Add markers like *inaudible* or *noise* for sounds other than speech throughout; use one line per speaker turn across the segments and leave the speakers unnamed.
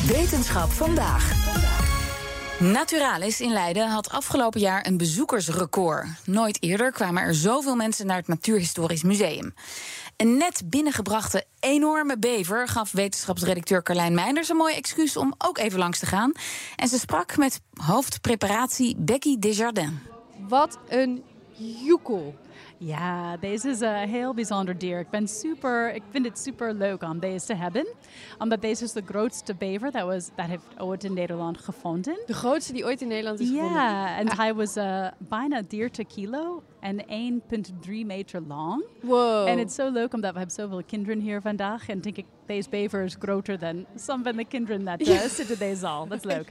Wetenschap vandaag. Naturalis in Leiden had afgelopen jaar een bezoekersrecord. Nooit eerder kwamen er zoveel mensen naar het Natuurhistorisch Museum. Een net binnengebrachte enorme bever gaf wetenschapsredacteur Carlijn Meinders een mooi excuus om ook even langs te gaan. En ze sprak met hoofdpreparatie Becky Desjardins.
Wat een joekel. Ja, deze is een heel bijzonder dier. Ik, ben super, ik vind het super leuk om deze te hebben. Omdat deze is de grootste bever dat, was, dat heeft ooit in Nederland gevonden.
De grootste die ooit in Nederland is gevonden?
Ja, en hij was eh, bijna 30 kilo en 1,3 meter lang.
Wow.
En het is zo leuk omdat we hebben zoveel kinderen hier vandaag. En denk ik, deze bever is groter dan sommige van de kinderen dat eh, zitten in deze zaal. Dat is leuk.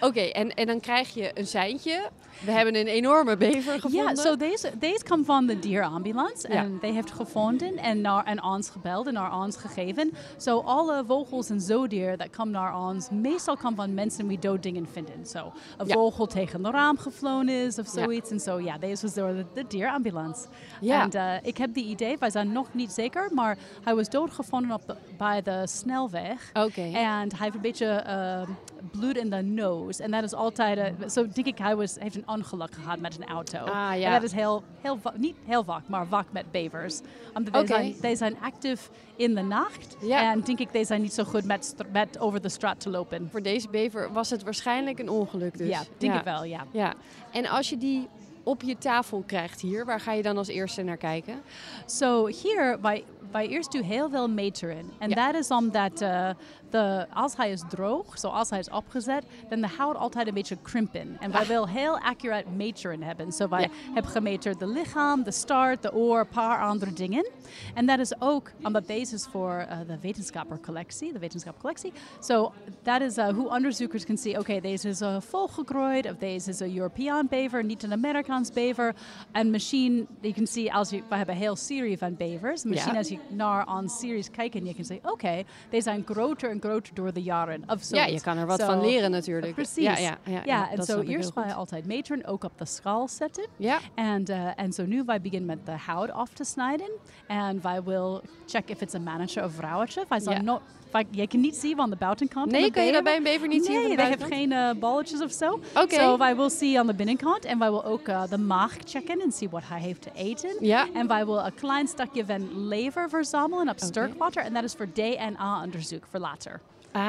Oké, en, en dan krijg je een seintje. We hebben een enorme bever gevonden.
Ja, zo deze, deze kwam van de dierambulance.
Ja.
En die heeft gevonden en naar en ons gebeld en naar ons gegeven. Zo alle vogels en zoodier dat komen naar ons, meestal komen van mensen die dood dingen vinden. Zo een
Ja.
vogel tegen een raam gevlogen is of
Ja.
zoiets. En zo, ja, deze was door de, de dierambulance.
Ja.
En eh, ik heb die idee, wij zijn nog niet zeker, maar hij was doodgevonden op de, bij de snelweg.
Oké.
*laughs* En hij heeft een beetje ehm, bloed in de neus. En dat is altijd... eh, Zo denk ik, hij was, heeft een ongeluk gehad met een auto.
Ah, ja.
En dat is heel, heel va- niet heel vaak, maar vaak met bevers. Omdat
Oké.
die zijn, die zijn actief in de nacht.
Ja.
En denk ik, die zijn niet zo goed met, str- met over de straat te lopen.
Voor deze bever was het waarschijnlijk een ongeluk dus.
Ja, denk ik wel, ja.
Ja. En als je die op je tafel krijgt hier, waar ga je dan als eerste naar kijken?
Zo hier, wij, wij eerst doen heel veel meteren. En
Ja.
dat is omdat eh, de, als hij is droog, zo als hij is opgezet, dan de hout altijd een beetje krimpen. En wij willen heel accurate meteren hebben. Zo wij
Ah. Ja.
hebben gemeten de lichaam, de staart, de oor, een paar andere dingen. En dat is ook, omdat deze is voor eh, de wetenschappercollectie, de wetenschapcollectie. Zo dat is eh, hoe onderzoekers kunnen zien, oké, deze is een volgekrooid, of deze is een Europeaan bever, niet een Amerikaans bever. En misschien, je kan zien, als je, we hebben een heel serie van bevers. Misschien als je naar ons series kijkt en je kan zeggen, oké, deze zijn groter en groter door de jaren. Of zoiets.
je kan er wat
Zo,
van leren natuurlijk.
Precies.
Ja, ja, ja, ja,
en
dat
zo
snap ik
eerst
heel goed.
wij altijd meteren, ook op de schaal zetten.
Ja.
En, eh, en zo nu, wij beginnen met de hout af te snijden. En wij wil check if it's een mannetje of vrouwtje. Wij zijn
Ja.
not, wij- je kan niet zien van de buitenkant.
Nee,
van de
kan je dat
bever.
bij een bever niet zien van de
Nee, hij heeft geen
buitenkant?
eh, balletjes of zo.
Oké.
Zo wij wil zien aan de binnenkant. En wij wil ook eh, de maag checken en zien wat hij heeft te eten.
Ja.
En wij wil een uh, klein stukje van lever verzamelen op sterkwater. En dat is voor DNA-onderzoek voor later.
Ah,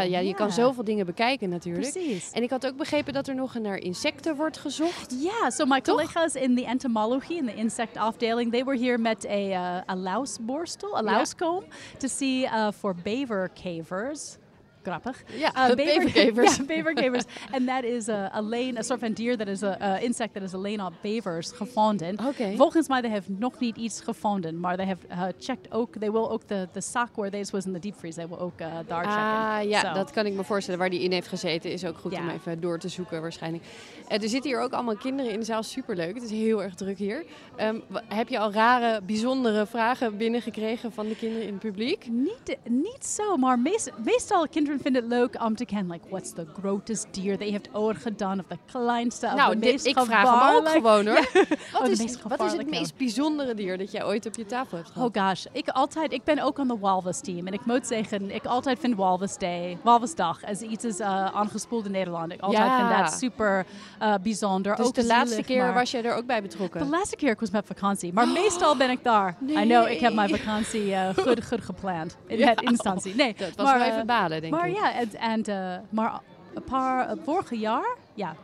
Zo,
ja, je kan
ja.
zoveel dingen bekijken natuurlijk.
Precies.
En ik had ook begrepen dat er nog naar insecten wordt gezocht.
Ja, so my collega's in de entomologie, in de insect afdeling, they were here met a, uh, a louseborstel, a
Ja.
lousecomb, to see uh, for bevercavers. Grappig.
Ja, *laughs*
Uh,
de
*laughs*
beverkevers.
Ja, beverkevers. En dat is uh, a lane, a soort van dier, dat is een insect dat is alleen op bevers gevonden.
Oké.
Volgens mij, they have nog niet iets gevonden, maar they have uh, checked ook, they will ook de, de zak waar deze was in de diepvries, they will ook uh, daar checken.
Ah, ja,
So,
dat kan ik me voorstellen. Waar die in heeft gezeten is ook goed
Ja.
om even door te zoeken waarschijnlijk. Eh, er zitten hier ook allemaal kinderen in de zaal. Superleuk. Het is heel erg druk hier. Ehm, wa- heb je al rare, bijzondere vragen binnengekregen van de kinderen in het publiek?
Niet, niet zo, maar meest, meestal kinderen vinden het leuk om te kennen, like, what's the grootest dier they have ooit gedaan, of de kleinste, of
nou,
de
dit-
meest
ik vraag hem ook
gevaarlijk-
gewoon
*laughs*
hoor.
Oh,
Wat,
de
is, wat
meest
is het
gevaarlijke.
meest bijzondere dier dat jij ooit op je tafel hebt gehad?
Oh gosh, ik altijd, ik ben ook aan de walvis team en ik moet zeggen, ik altijd vind walvis day, walvisdag, als iets is eh, aangespoeld in Nederland. Ik altijd
Ja.
vind dat super eh, bijzonder.
dus
ook
de laatste
zielig,
keer
maar-
was jij er ook bij betrokken?
De laatste keer ik was met vakantie,
*gasps*
maar meestal ben ik daar. I know, ik heb mijn
Nee.
vakantie eh, goed, goed gepland in
Ja.
het instantie. Nee,
Dat was
maar,
wel
eh,
even balen, denk
maar
ik.
ja, en, en, eh, maar een paar, eh, vorig jaar, ja,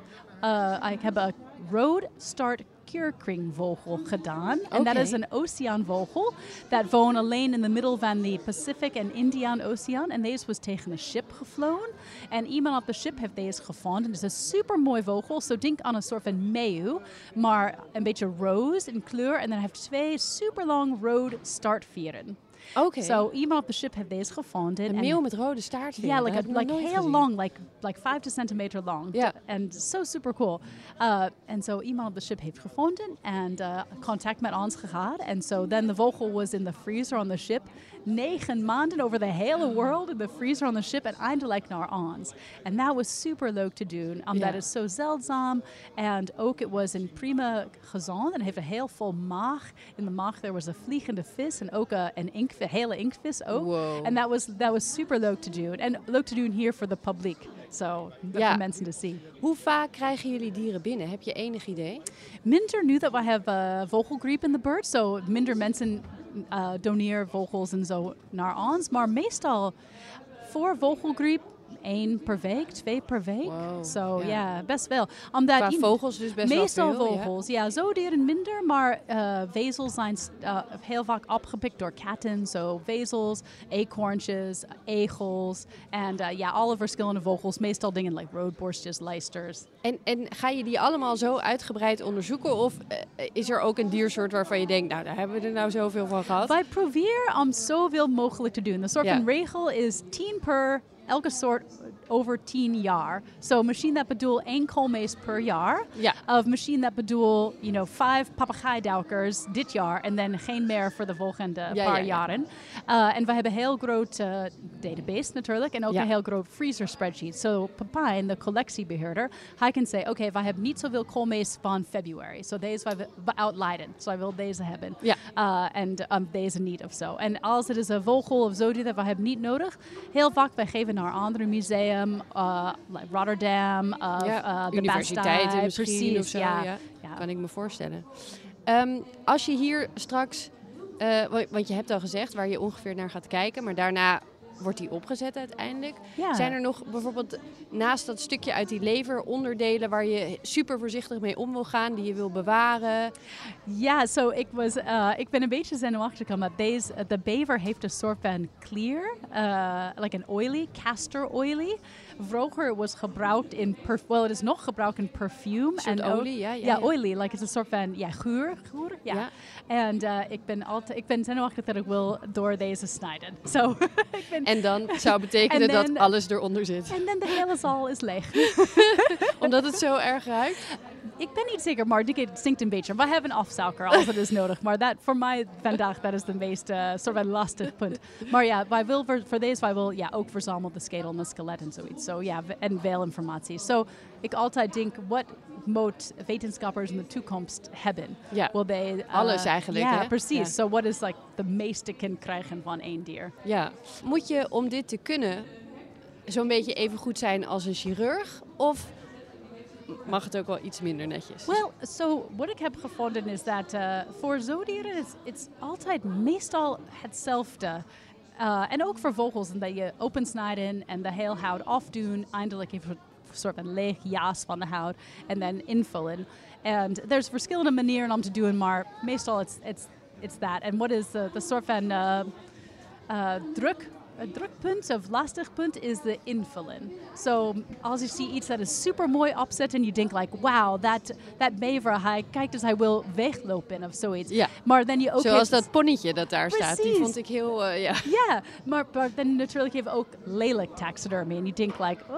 eh, ik heb een road start keerkringvogel gedaan. En dat
Oké.
is een oceaanvogel. Dat woont alleen in de middel van de Pacific en Indian Oceaan. En deze was tegen een schip gevlogen. En iemand op de schip heeft deze gevonden. Het is een super mooi vogel. Zo denk aan een soort van meeuw. Maar een beetje roze in kleur. En dan heeft twee super lang rood startvieren.
Oké.
So iemand op de schip heeft deze gevonden.
een
en-
meel met rode staart.
Yeah, like a, like heel long, like like five to centimeter long.
Yeah.
and so super cool. Uh, and so iemand op de ship heeft gevonden and uh, contact met ons gehad. And so then the vogel was in the freezer on the ship. Negen maanden over the
Mm.
hele world in the freezer on the ship and eindelijk naar ons. And that was super leuk te doen, omdat
Ja.
het zo zeldzaam and ook het was een prima gezond en heeft een heel vol maag. In de maag there was een vliegende vis en ook een, een inkvi- hele inkvis ook.
Wow.
And that was that was super leuk to do and leuk to do in here for the public. So for
Ja.
mensen to see.
Hoe vaak krijgen jullie dieren binnen? Heb je enig idee?
Minder knew that we have uh, vogelgriep in the bird, so minder mensen uh, doneer vogels en zo naar ons. Maar meestal voor vogelgriep één per week, twee per week.
Wow,
so
ja.
ja, best wel. Omdat
Qua
i-
vogels dus best wel
meestal
veel, ja.
vogels, ja. zoogdieren minder, maar eh, wezels zijn eh, heel vaak opgepikt door katten. Zo wezels, eekhoorntjes, egels en eh, ja, alle verschillende vogels. Meestal dingen like roodborstjes, lijsters.
En, en ga je die allemaal zo uitgebreid onderzoeken? Of eh, is er ook een diersoort waarvan je denkt, nou daar hebben we er nou zoveel van gehad?
Wij proberen om zoveel mogelijk te doen. De soort
Ja.
van regel is 10 per elke soort over 10 jaar. So misschien dat bedoel één koolmees per jaar.
Ja.
Of misschien dat bedoel, you know, vijf papegaaiduikers dit jaar en dan geen meer voor de volgende
ja,
paar
ja.
jaren. Eh, en we hebben een heel groot eh, database natuurlijk en ook
Ja.
een heel groot freezer spreadsheet. So Papijn, de collectiebeheerder, hij kan zeggen, oké, wij hebben niet zoveel koolmees van februari. So deze wij we outlijden. So hij wil deze hebben.
Ja.
Uh, en um, deze niet of zo. En als het is een vogel of zo die dat we hebben niet nodig, heel vaak wij geven naar een ander museum, uh, like Rotterdam, of,
Ja,
eh, de
universiteiten
Bastille,
misschien
precies,
of zo.
ja.
ja.
Ja.
Kan ik me voorstellen. Ehm, als je hier straks, eh, wa- want je hebt al gezegd waar je ongeveer naar gaat kijken, maar daarna wordt die opgezet uiteindelijk.
Ja.
Zijn er nog bijvoorbeeld naast dat stukje uit die lever onderdelen waar je super voorzichtig mee om wil gaan, die je wil bewaren?
Ja, zo ik was, eh, ik ben een beetje zenuwachtig omdat deze, eh, de bever heeft een soort van clear, eh, like een oily, castor oily. Vroeger was gebruikt in, perf- well, het is nog gebruikt in perfume.
soort
en ook-
olie, ja, ja, ja.
oily, like het is een soort van, ja, geur, geur, ja.
Ja.
En eh, ik ben altijd, ik ben zenuwachtig dat ik wil door deze snijden. Zo, *laughs* ik ben...
En dan zou betekenen
*laughs* En
dat
dan-
alles eronder zit.
En dan de hele zaal is leeg.
Omdat het zo erg ruikt.
Ik ben niet zeker, maar dit stinkt een beetje. We hebben een afzalker als het is nodig. Maar dat voor mij vandaag, dat is de meest eh, soort van lastig punt. Maar ja, wij wil voor, voor deze, wij wil ja, ook verzamelen de schedel en de skelet en zoiets. Zo ja, we- en veel informatie. Zo, ik altijd denk, wat moet wetenschappers in de toekomst hebben?
Ja,
Wil they, eh,
alles eigenlijk,
Ja,
hè?
precies.
Ja.
So what is like de meeste kan krijgen van één dier?
Ja. Moet je om dit te kunnen zo'n beetje even goed zijn als een chirurg? Of mag het ook wel iets minder netjes?
Well, so wat ik heb gevonden is dat eh, voor zoogdieren is het altijd meestal hetzelfde. Eh, en ook voor vogels, en dat je opensnijden en de heel hout afdoen, eindelijk even een soort van leeg jaas van de hout en dan invullen. En er zijn verschillende manieren om te doen, maar meestal it's, it's, it's that. En wat is uh, de de soort van eh, eh, druk, het drukpunt of lastig punt is de invullen. So als je ziet iets dat is super mooi opzet en je denkt like, wow, dat dat bever, hij kijkt dus hij wil weglopen of zoiets.
Ja.
Maar dan je ook
Zoals
heeft-
dat ponnetje dat daar staat. Die
Precies.
vond ik heel... eh, ja.
ja, maar, maar dan natuurlijk heeft ook lelijk taxidermy. En je denkt like, oh,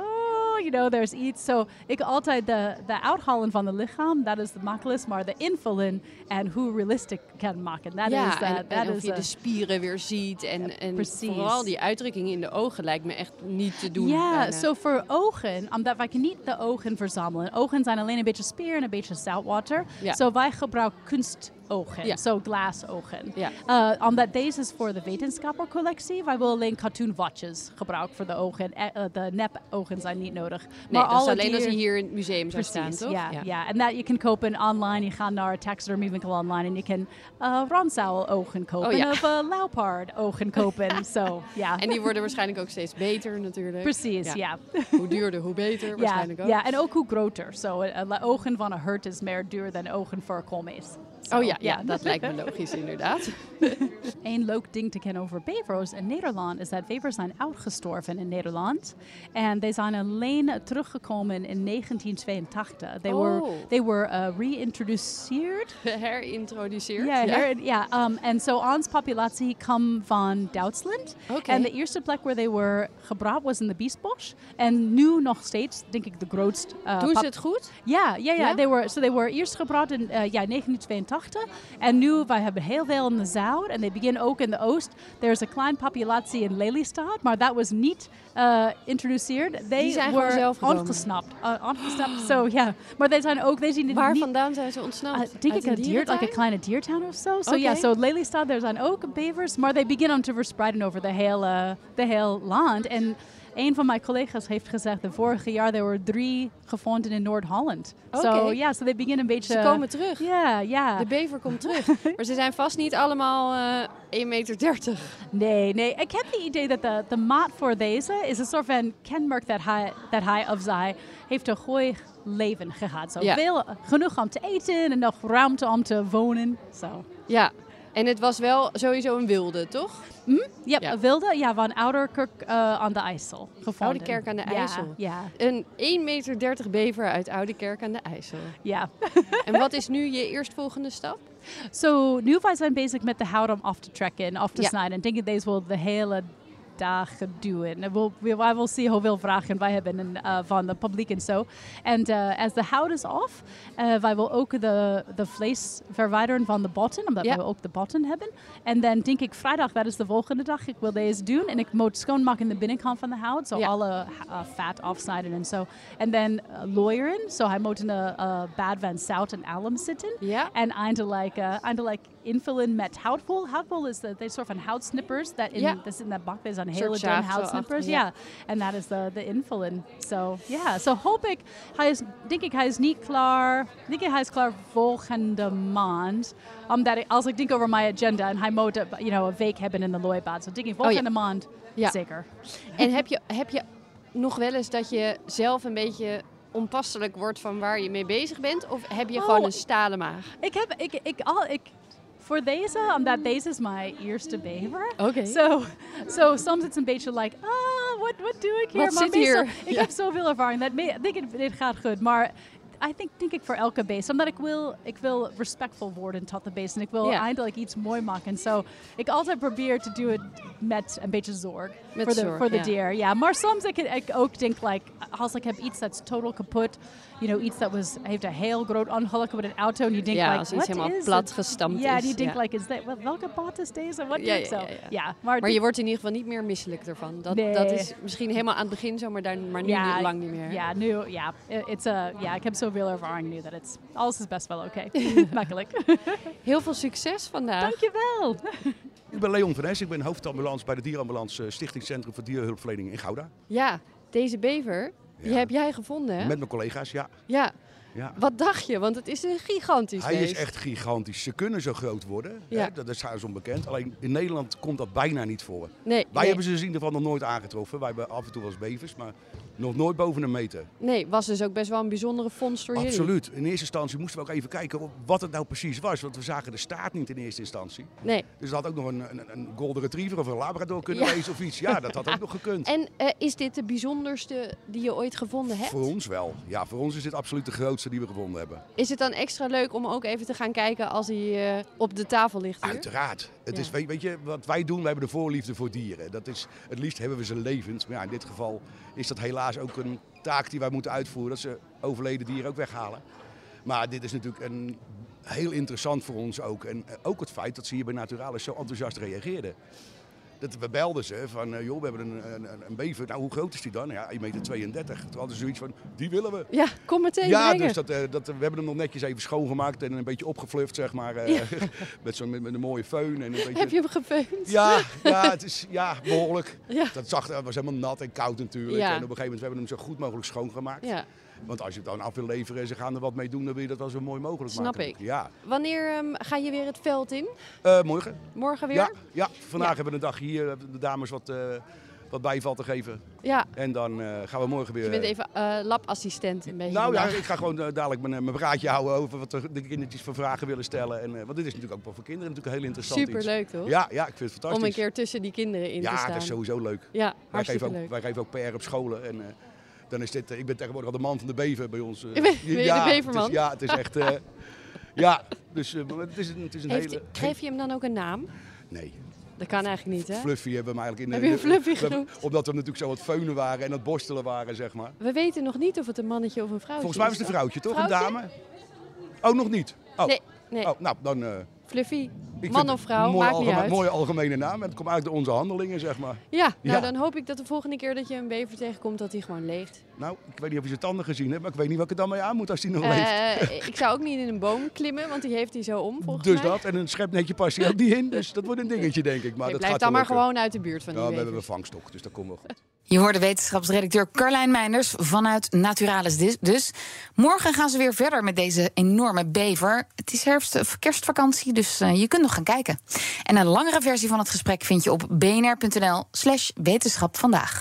you know, there's iets. So ik altijd de, de uithalen van de lichaam, dat is de makkelijkst. Maar de invullen en hoe realistisch kan maken. Dat
ja,
is dat.
en, en
dat
of
is
je de
eh,
spieren weer ziet. En, en
precies.
vooral die uitdrukking in de ogen lijkt me echt niet te doen.
Ja,
bijna.
zo voor ogen, omdat wij kunnen niet de ogen verzamelen. Ogen zijn alleen een beetje spier en een beetje zoutwater. Zo
Ja.
wij gebruiken kunstogen,
Ja.
zo glasogen.
Ja.
Eh, omdat deze is voor de wetenschappercollectie. Wij willen alleen cartoon watches gebruiken voor de ogen. Eh, eh, de nep ogen zijn niet nodig.
Nee, dat is
alle
alleen als
dier-
hij hier in het museum zou
Precies,
staan, toch?
Ja, ja. En dat je kan kopen online. Je gaat naar taxidermy winkel online en je kan eh ransuil ogen kopen.
Oh, ja.
Of eh, lauwpaard ogen
*laughs*
kopen. Zo, ja.
En die
*laughs*
worden waarschijnlijk ook steeds beter natuurlijk.
Precies, ja.
Hoe duurder, hoe beter
Ja,
waarschijnlijk ook.
ja, en ook hoe groter. Zo, eh, la- ogen van een hert is meer duur dan ogen voor een koolmees. Zo,
oh ja, ja, dat lijkt me logisch inderdaad.
Eén leuk ding te kennen over bevers in Nederland is dat bevers zijn uitgestorven in Nederland. En ze zijn alleen teruggekomen in 1982. They
Oh.
were, they were uh, reintroduceerd.
*laughs* Herintroduceerd.
Ja, her- ja. um, en zo ons populatie kwam van Duitsland.
Oké.
En de eerste plek waar they were gebracht was in de Biesbosch. En nu nog steeds, denk ik, de grootste eh,
Doen
pop-
ze het goed?
ja, ja, ja.
Ja?
They were, so they were eerst gebracht in eh, ja, 1982. En nu, wij hebben heel veel in de zuid. En they beginnen ook in de oost. Er is een kleine populatie in Lelystad. Maar dat was niet eh introduceerd. They
Die zijn gewoon
were
zelf gekomen.
ontsnapt. Eh, ontsnapt, zo ja. Maar they zijn ook, they
*laughs*
zien
Waar
niet...
vandaan zijn ze
I
ontsnapt?
think
Uit
it's a deer, like a
dierentuin?
kleine diertown of so. So Oh, yeah,
Okay.
so Lelystad, there's an oak bevers, maar they begin on to verspreiden over the hele, the hele land. En een van mijn collega's heeft gezegd, de vorige jaar er were drie gevonden in Noord-Holland. So
Okay.
yeah, so they begin een beetje...
Ze komen terug.
Ja, ja.
De bever
*laughs*
komt terug. maar ze zijn vast niet allemaal eh 1,30 meter.
Nee, nee. Ik heb het idee dat de, de maat voor deze is een soort van kenmerk dat hij, dat hij of zij heeft een gooi leven gehad. Zo
Ja.
veel, genoeg om te eten en nog ruimte om te wonen. So.
Ja. En het was wel sowieso een wilde, toch?
Yep,
Ja.
ja. Wilde, ja, van Ouderkerk eh, aan de IJssel. Gevonden.
Oudekerk Oh, aan de
Ja,
IJssel.
Ja,
Een 1,30 meter bever uit Oude Kerk aan de IJssel.
ja.
En wat is nu je eerstvolgende stap?
Zo, nu wij zijn bezig met de hout om af te trekken en af te
Ja.
snijden. Ik denk dat deze wel de hele dagen duren. En We'll, we, wij will zien hoeveel vragen wij hebben en, eh, van het publiek en zo. En eh, als de hout is af, eh, wij willen ook de, de vlees verwijderen van de botten, omdat
Ja.
we ook de botten hebben. En dan denk ik vrijdag, dat is de volgende dag, ik wil deze doen. En ik moet schoonmaken de binnenkant van de hout, zo
Ja.
alle eh, vet afsnijden en zo. En dan eh, looieren, zo hij moet in een eh, bad van zout en alum zitten.
Ja.
En eindelijk, uh, eindelijk invullen met houtbol. Houtbol is de, de soort van houtsnippers. Dat in,
Ja.
dat is in dat bak is een
soort
hele dun
zaag zo
houtsnippers.
achter, ja.
Ja. En dat is de, de invullen. So, ja. Zo hoop ik, hij is, denk ik, hij is niet klaar. Denk ik, hij is klaar Um, volgende maand. Omdat ik, als ik denk over mijn agenda en hij moet eh, you know, een week hebben in de looibad. So, denk ik, volgende maand
Ja.
zeker.
En heb je, heb je nog wel eens dat je zelf een beetje onpasselijk wordt van waar je mee bezig bent? Of heb je
Oh,
gewoon een stalen maag?
Ik heb, ik, ik, al, ik, voor deze, omdat deze is mijn eerste bever.
Oké.
So, so soms it's een beetje like, ah, what, what doe ik hier?
Wat zit
meestal-
hier?
Ik heb zoveel ervaring. Dat me- ik denk, het- dit gaat goed. Maar I think, denk ik voor elke beest. Omdat ik wil, ik wil respectvol worden tot de beest. En ik wil
Ja.
eindelijk iets mooi maken. So, ik altijd probeer te doen met een beetje zorg.
Met
voor de,
zorg,
voor de
ja.
dier, ja. Maar soms ik, ik ook denk, like, als ik heb iets that's total kapot. You know, iets dat was, heeft een heel groot ongeluk met een auto. En je denkt,
Ja,
like,
als iets
what
helemaal
is
plat
it?
gestampt
Ja,
is,
en je denkt,
ja.
like, is that, wel- welke bot is deze? Wat
Ja,
doe ik
ja,
zo?
ja, ja.
maar,
Maar je wordt in ieder geval niet meer misselijk ervan. Dat,
Nee.
dat is misschien helemaal aan het begin zo, maar, daar, maar nu niet- lang niet meer.
Ja, nu, ja. Eh, It's a, ja, ik heb zoveel ervaring nu dat het, alles is best
*laughs*
wel oké. Makkelijk. *laughs*
Heel veel succes vandaag.
Dankjewel.
Ik ben Leon van Hess, ik ben hoofdambulance bij de Dierambulance eh, Stichting Centrum voor Dierhulpverlening in Gouda.
Ja, deze bever, die
Ja.
heb jij gevonden, hè?
Met mijn collega's, ja.
Ja.
ja.
Wat dacht je? Want het is een gigantisch
Hij is
beest.
echt gigantisch. Ze kunnen zo groot worden,
Ja.
hè? dat is trouwens onbekend. Alleen in Nederland komt dat bijna niet voor.
Nee,
Wij
nee,
hebben ze dus in ieder geval nog nooit aangetroffen. Wij hebben af en toe wel eens bevers, maar nog nooit boven een meter.
nee, was dus ook best wel een bijzondere vondst voor jullie.
Absoluut. In eerste instantie moesten we ook even kijken wat het nou precies was. Want we zagen de staart niet in eerste instantie.
Nee.
Dus dat had ook nog een, een, een golden retriever of een labrador kunnen
Ja.
wezen of iets. Ja, dat had
*laughs*
ook nog gekund.
En eh, is dit de bijzonderste die je ooit gevonden hebt?
Voor ons wel. Ja, voor ons is dit absoluut de grootste die we gevonden hebben.
Is het dan extra leuk om ook even te gaan kijken als hij eh, op de tafel ligt hier?
Uiteraard. Het
Ja.
is, weet, weet je, wat wij doen, wij hebben de voorliefde voor dieren. Dat is, het liefst hebben we ze levend. Maar ja, in dit geval is dat helaas ook een taak die wij moeten uitvoeren. Dat ze overleden dieren ook weghalen. Maar dit is natuurlijk een, heel interessant voor ons ook. En eh, ook het feit dat ze hier bij Naturalis zo enthousiast reageerden. Dat we belden ze van, eh, joh, we hebben een, een, een- een bever. Nou, hoe groot is die dan? Ja, 1,32 meter. Toen hadden ze zoiets van, die willen we.
Ja, kom meteen
Ja,
brengen.
dus dat, eh, dat, we hebben hem nog netjes even schoongemaakt en een beetje opgefluft, zeg maar. eh, *laughs* met, zo'n met, met een mooie föhn. En een beetje...
Heb je hem gefeund? *laughs*
Ja, ja, het is ja, behoorlijk.
Ja.
Dat zag, er- het was helemaal nat en koud natuurlijk.
Ja.
En op een gegeven moment hebben we hem zo goed mogelijk schoongemaakt.
Ja.
Want als je het dan af wil leveren en ze gaan er wat mee doen, dan wil je dat wel zo mooi mogelijk
Snap
maken.
ik.
Ja.
Wanneer ehm, ga je weer het veld in?
Eh, morgen?
Morgen weer?
Ja, ja, vandaag
Ja.
hebben we een dag hier. hebben De dames wat eh, wat bijval te geven.
Ja,
En dan eh, gaan we morgen weer...
je bent even eh, labassistent een beetje.
Nou ja,
vandaag.
ik ga gewoon eh, dadelijk mijn, eh, mijn praatje houden over wat de de kindertjes voor vragen willen stellen. En, eh, want dit is natuurlijk ook wel voor kinderen natuurlijk heel interessant iets.
Superleuk toch?
Ja, ja, ik vind het fantastisch.
Om een keer tussen die kinderen in te
ja,
staan.
dat is sowieso leuk.
Ja,
Wij geven,
hartstikke
ook,
leuk.
wij geven ook PR op scholen. En eh, dan is dit, eh, ik ben tegenwoordig al de man van de bever bij ons. eh.
Je bent- ben je de
ja,
beverman?
Het is, ja, het is echt...
*laughs*
eh, ja, dus eh, maar het is een, het is een
Heeft-
hele...
Geef je hem dan ook een naam?
Nee,
Dat kan eigenlijk niet, hè?
Fluffy hebben we hem eigenlijk in...
Heb
eh,
je hem
de-
Fluffy
we-
genoemd? Oh,
Omdat we hem natuurlijk zo wat feunen waren en dat borstelen waren, zeg maar.
We weten nog niet of het een mannetje of een vrouwtje
Volgens mij was
is.
het een vrouwtje, toch?
Vrouwtje?
Een dame? Oh, nog niet? Oh,
Nee, nee.
oh nou, dan... eh,
Fluffy.
Ik
Man
vind
of
het
vrouw,
een mooie
maakt niet
algeme-
uit.
Mooie algemene naam. En het komt uit door onze handelingen, zeg maar.
Ja, nou
Ja.
dan hoop ik dat de volgende keer dat je een bever tegenkomt, dat hij gewoon leeft.
Nou, ik weet niet of je zijn tanden gezien hebt, maar ik weet niet wat ik er dan mee aan moet als die nog leeft.
Eh, ik zou ook niet in een boom klimmen, want die heeft hij zo om, volgens
Dus
mij.
dat, en een schepnetje past hij ook niet in. Dus dat wordt een dingetje, denk ik. Maar
Nee,
dat
blijf
gaat
dan
wel
maar
lukken.
gewoon uit de buurt van die
Ja, we
bevers.
hebben een vangstok, dus dat komt wel goed.
Je hoorde wetenschapsredacteur Carlijn Meinders vanuit Naturalis dis- dus. Morgen gaan ze weer verder met deze enorme bever. Het is herfst, of kerstvakantie, dus eh, je kunt nog gaan kijken. En een langere versie van het gesprek vind je op bnr.nl slash wetenschap vandaag.